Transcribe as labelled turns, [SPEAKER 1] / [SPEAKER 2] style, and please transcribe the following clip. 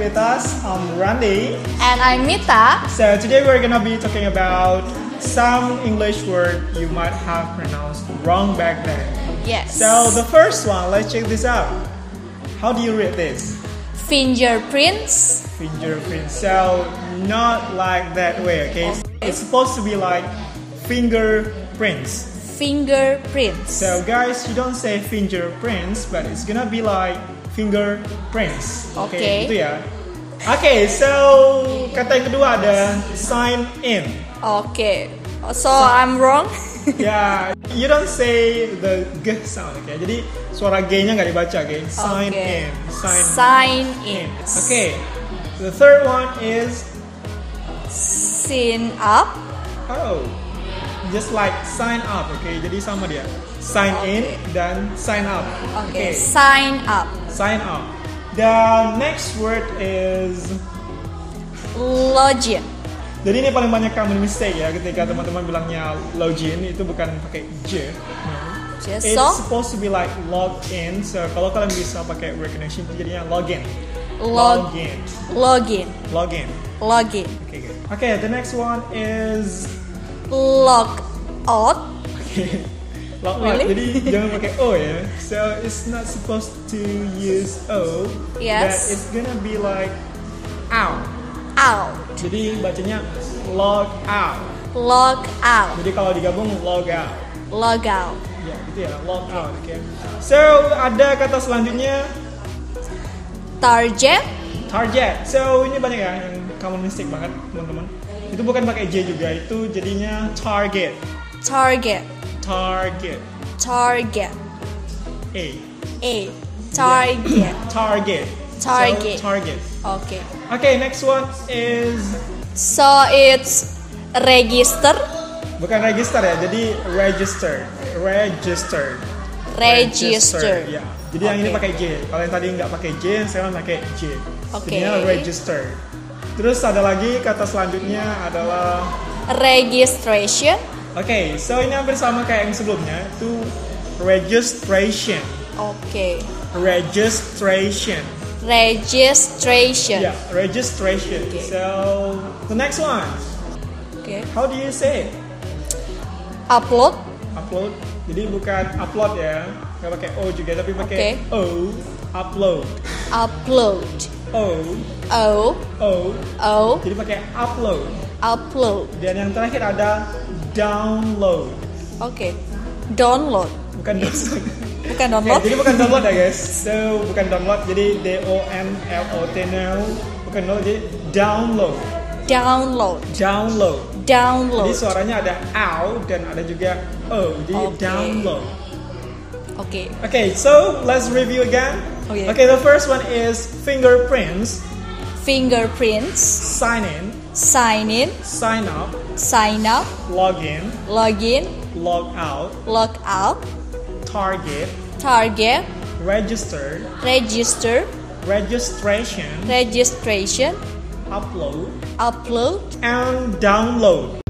[SPEAKER 1] with us. I'm Randy.
[SPEAKER 2] And I'm Mita.
[SPEAKER 1] So today we're gonna be talking about some English word you might have pronounced wrong back then.
[SPEAKER 2] Yes.
[SPEAKER 1] So the first one, let's check this out. How do you read this?
[SPEAKER 2] fingerprints.
[SPEAKER 1] Fingerprint. So not like that way, okay? It's supposed to be like fingerprints.
[SPEAKER 2] Fingerprints.
[SPEAKER 1] So guys, you don't say fingerprints, but it's gonna be like fingerprints.
[SPEAKER 2] Okay.
[SPEAKER 1] Itu ya. Oke, so kata yang kedua ada sign in.
[SPEAKER 2] Okay. So I'm wrong.
[SPEAKER 1] Ya, you don't say the g sound, oke? Jadi suara g-nya nggak dibaca, oke? Sign
[SPEAKER 2] Okay.
[SPEAKER 1] in, sign,
[SPEAKER 2] Sign in.
[SPEAKER 1] in. Oke, the third one is
[SPEAKER 2] Sin up.
[SPEAKER 1] oh, just like sign up, oke? Jadi sama dia, sign in dan sign up, oke?
[SPEAKER 2] Okay. Sign up.
[SPEAKER 1] Sign up. The next word is
[SPEAKER 2] Login.
[SPEAKER 1] jadi ini paling banyak common mistake ya ketika teman-teman bilangnya login itu bukan pakai j.
[SPEAKER 2] Just
[SPEAKER 1] It's
[SPEAKER 2] so
[SPEAKER 1] supposed to be like log in. So kalau kalian bisa pakai recognition jadinya login.
[SPEAKER 2] log
[SPEAKER 1] Login.
[SPEAKER 2] login.
[SPEAKER 1] Login.
[SPEAKER 2] Login.
[SPEAKER 1] Okay, good. Okay, the next one is
[SPEAKER 2] Log out.
[SPEAKER 1] log out.
[SPEAKER 2] Really?
[SPEAKER 1] Jadi jangan pakai o ya. So it's not supposed to use o.
[SPEAKER 2] Yes.
[SPEAKER 1] But it's gonna be like out.
[SPEAKER 2] Out.
[SPEAKER 1] Jadi bacanya log out.
[SPEAKER 2] Log out.
[SPEAKER 1] Jadi kalau digabung log out.
[SPEAKER 2] Log out.
[SPEAKER 1] Ya, gitu ya, log out. Okay. So ada kata selanjutnya
[SPEAKER 2] Target.
[SPEAKER 1] target. So ini banyak ya yang common mistake banget teman-teman. Itu bukan pakai J juga, itu jadinya target.
[SPEAKER 2] Target.
[SPEAKER 1] Target.
[SPEAKER 2] Target.
[SPEAKER 1] A.
[SPEAKER 2] A. Target.
[SPEAKER 1] Target.
[SPEAKER 2] Target.
[SPEAKER 1] So, target.
[SPEAKER 2] Okay.
[SPEAKER 1] Okay, next one is
[SPEAKER 2] So it's register,
[SPEAKER 1] bukan register ya, jadi register. Register.
[SPEAKER 2] register.
[SPEAKER 1] Ya. Jadi yang ini
[SPEAKER 2] Oke.
[SPEAKER 1] pakai J. Kalau yang tadi nggak pakai J, sekarang pakai J.
[SPEAKER 2] Oke.
[SPEAKER 1] Jadinya register. Terus ada lagi kata selanjutnya adalah
[SPEAKER 2] Registration.
[SPEAKER 1] Oke, so ini hampir sama kayak yang sebelumnya itu registration,
[SPEAKER 2] Okay.
[SPEAKER 1] registration,
[SPEAKER 2] Registration.
[SPEAKER 1] yeah, registration.
[SPEAKER 2] Okay.
[SPEAKER 1] So the next one,
[SPEAKER 2] Okay.
[SPEAKER 1] how do you say it?
[SPEAKER 2] Upload.
[SPEAKER 1] Upload. Jadi bukan upload ya, nggak pakai o juga tapi pakai
[SPEAKER 2] Okay.
[SPEAKER 1] o, upload,
[SPEAKER 2] Upload. Oh,
[SPEAKER 1] o,
[SPEAKER 2] O.
[SPEAKER 1] o.
[SPEAKER 2] O.
[SPEAKER 1] Jadi pakai upload.
[SPEAKER 2] Upload.
[SPEAKER 1] Dan yang terakhir ada download,
[SPEAKER 2] Okay. Download.
[SPEAKER 1] bukan download.
[SPEAKER 2] Bukan
[SPEAKER 1] Oke,
[SPEAKER 2] download.
[SPEAKER 1] jadi bukan download ya guys. So bukan download jadi D O N L O T now. Bukan download jadi download.
[SPEAKER 2] Download.
[SPEAKER 1] Download. Jadi
[SPEAKER 2] Download.
[SPEAKER 1] suaranya ada ow dan ada juga o. Jadi
[SPEAKER 2] Oke.
[SPEAKER 1] download.
[SPEAKER 2] Okay.
[SPEAKER 1] Okay, so let's review again.
[SPEAKER 2] Oh, yeah.
[SPEAKER 1] Okay, the first one is fingerprints,
[SPEAKER 2] Fingerprints.
[SPEAKER 1] sign in,
[SPEAKER 2] Sign in.
[SPEAKER 1] sign up,
[SPEAKER 2] Sign up.
[SPEAKER 1] log in,
[SPEAKER 2] Login.
[SPEAKER 1] log out,
[SPEAKER 2] Log out.
[SPEAKER 1] target,
[SPEAKER 2] Target.
[SPEAKER 1] register,
[SPEAKER 2] Register.
[SPEAKER 1] registration,
[SPEAKER 2] Registration.
[SPEAKER 1] upload,
[SPEAKER 2] upload,
[SPEAKER 1] and download.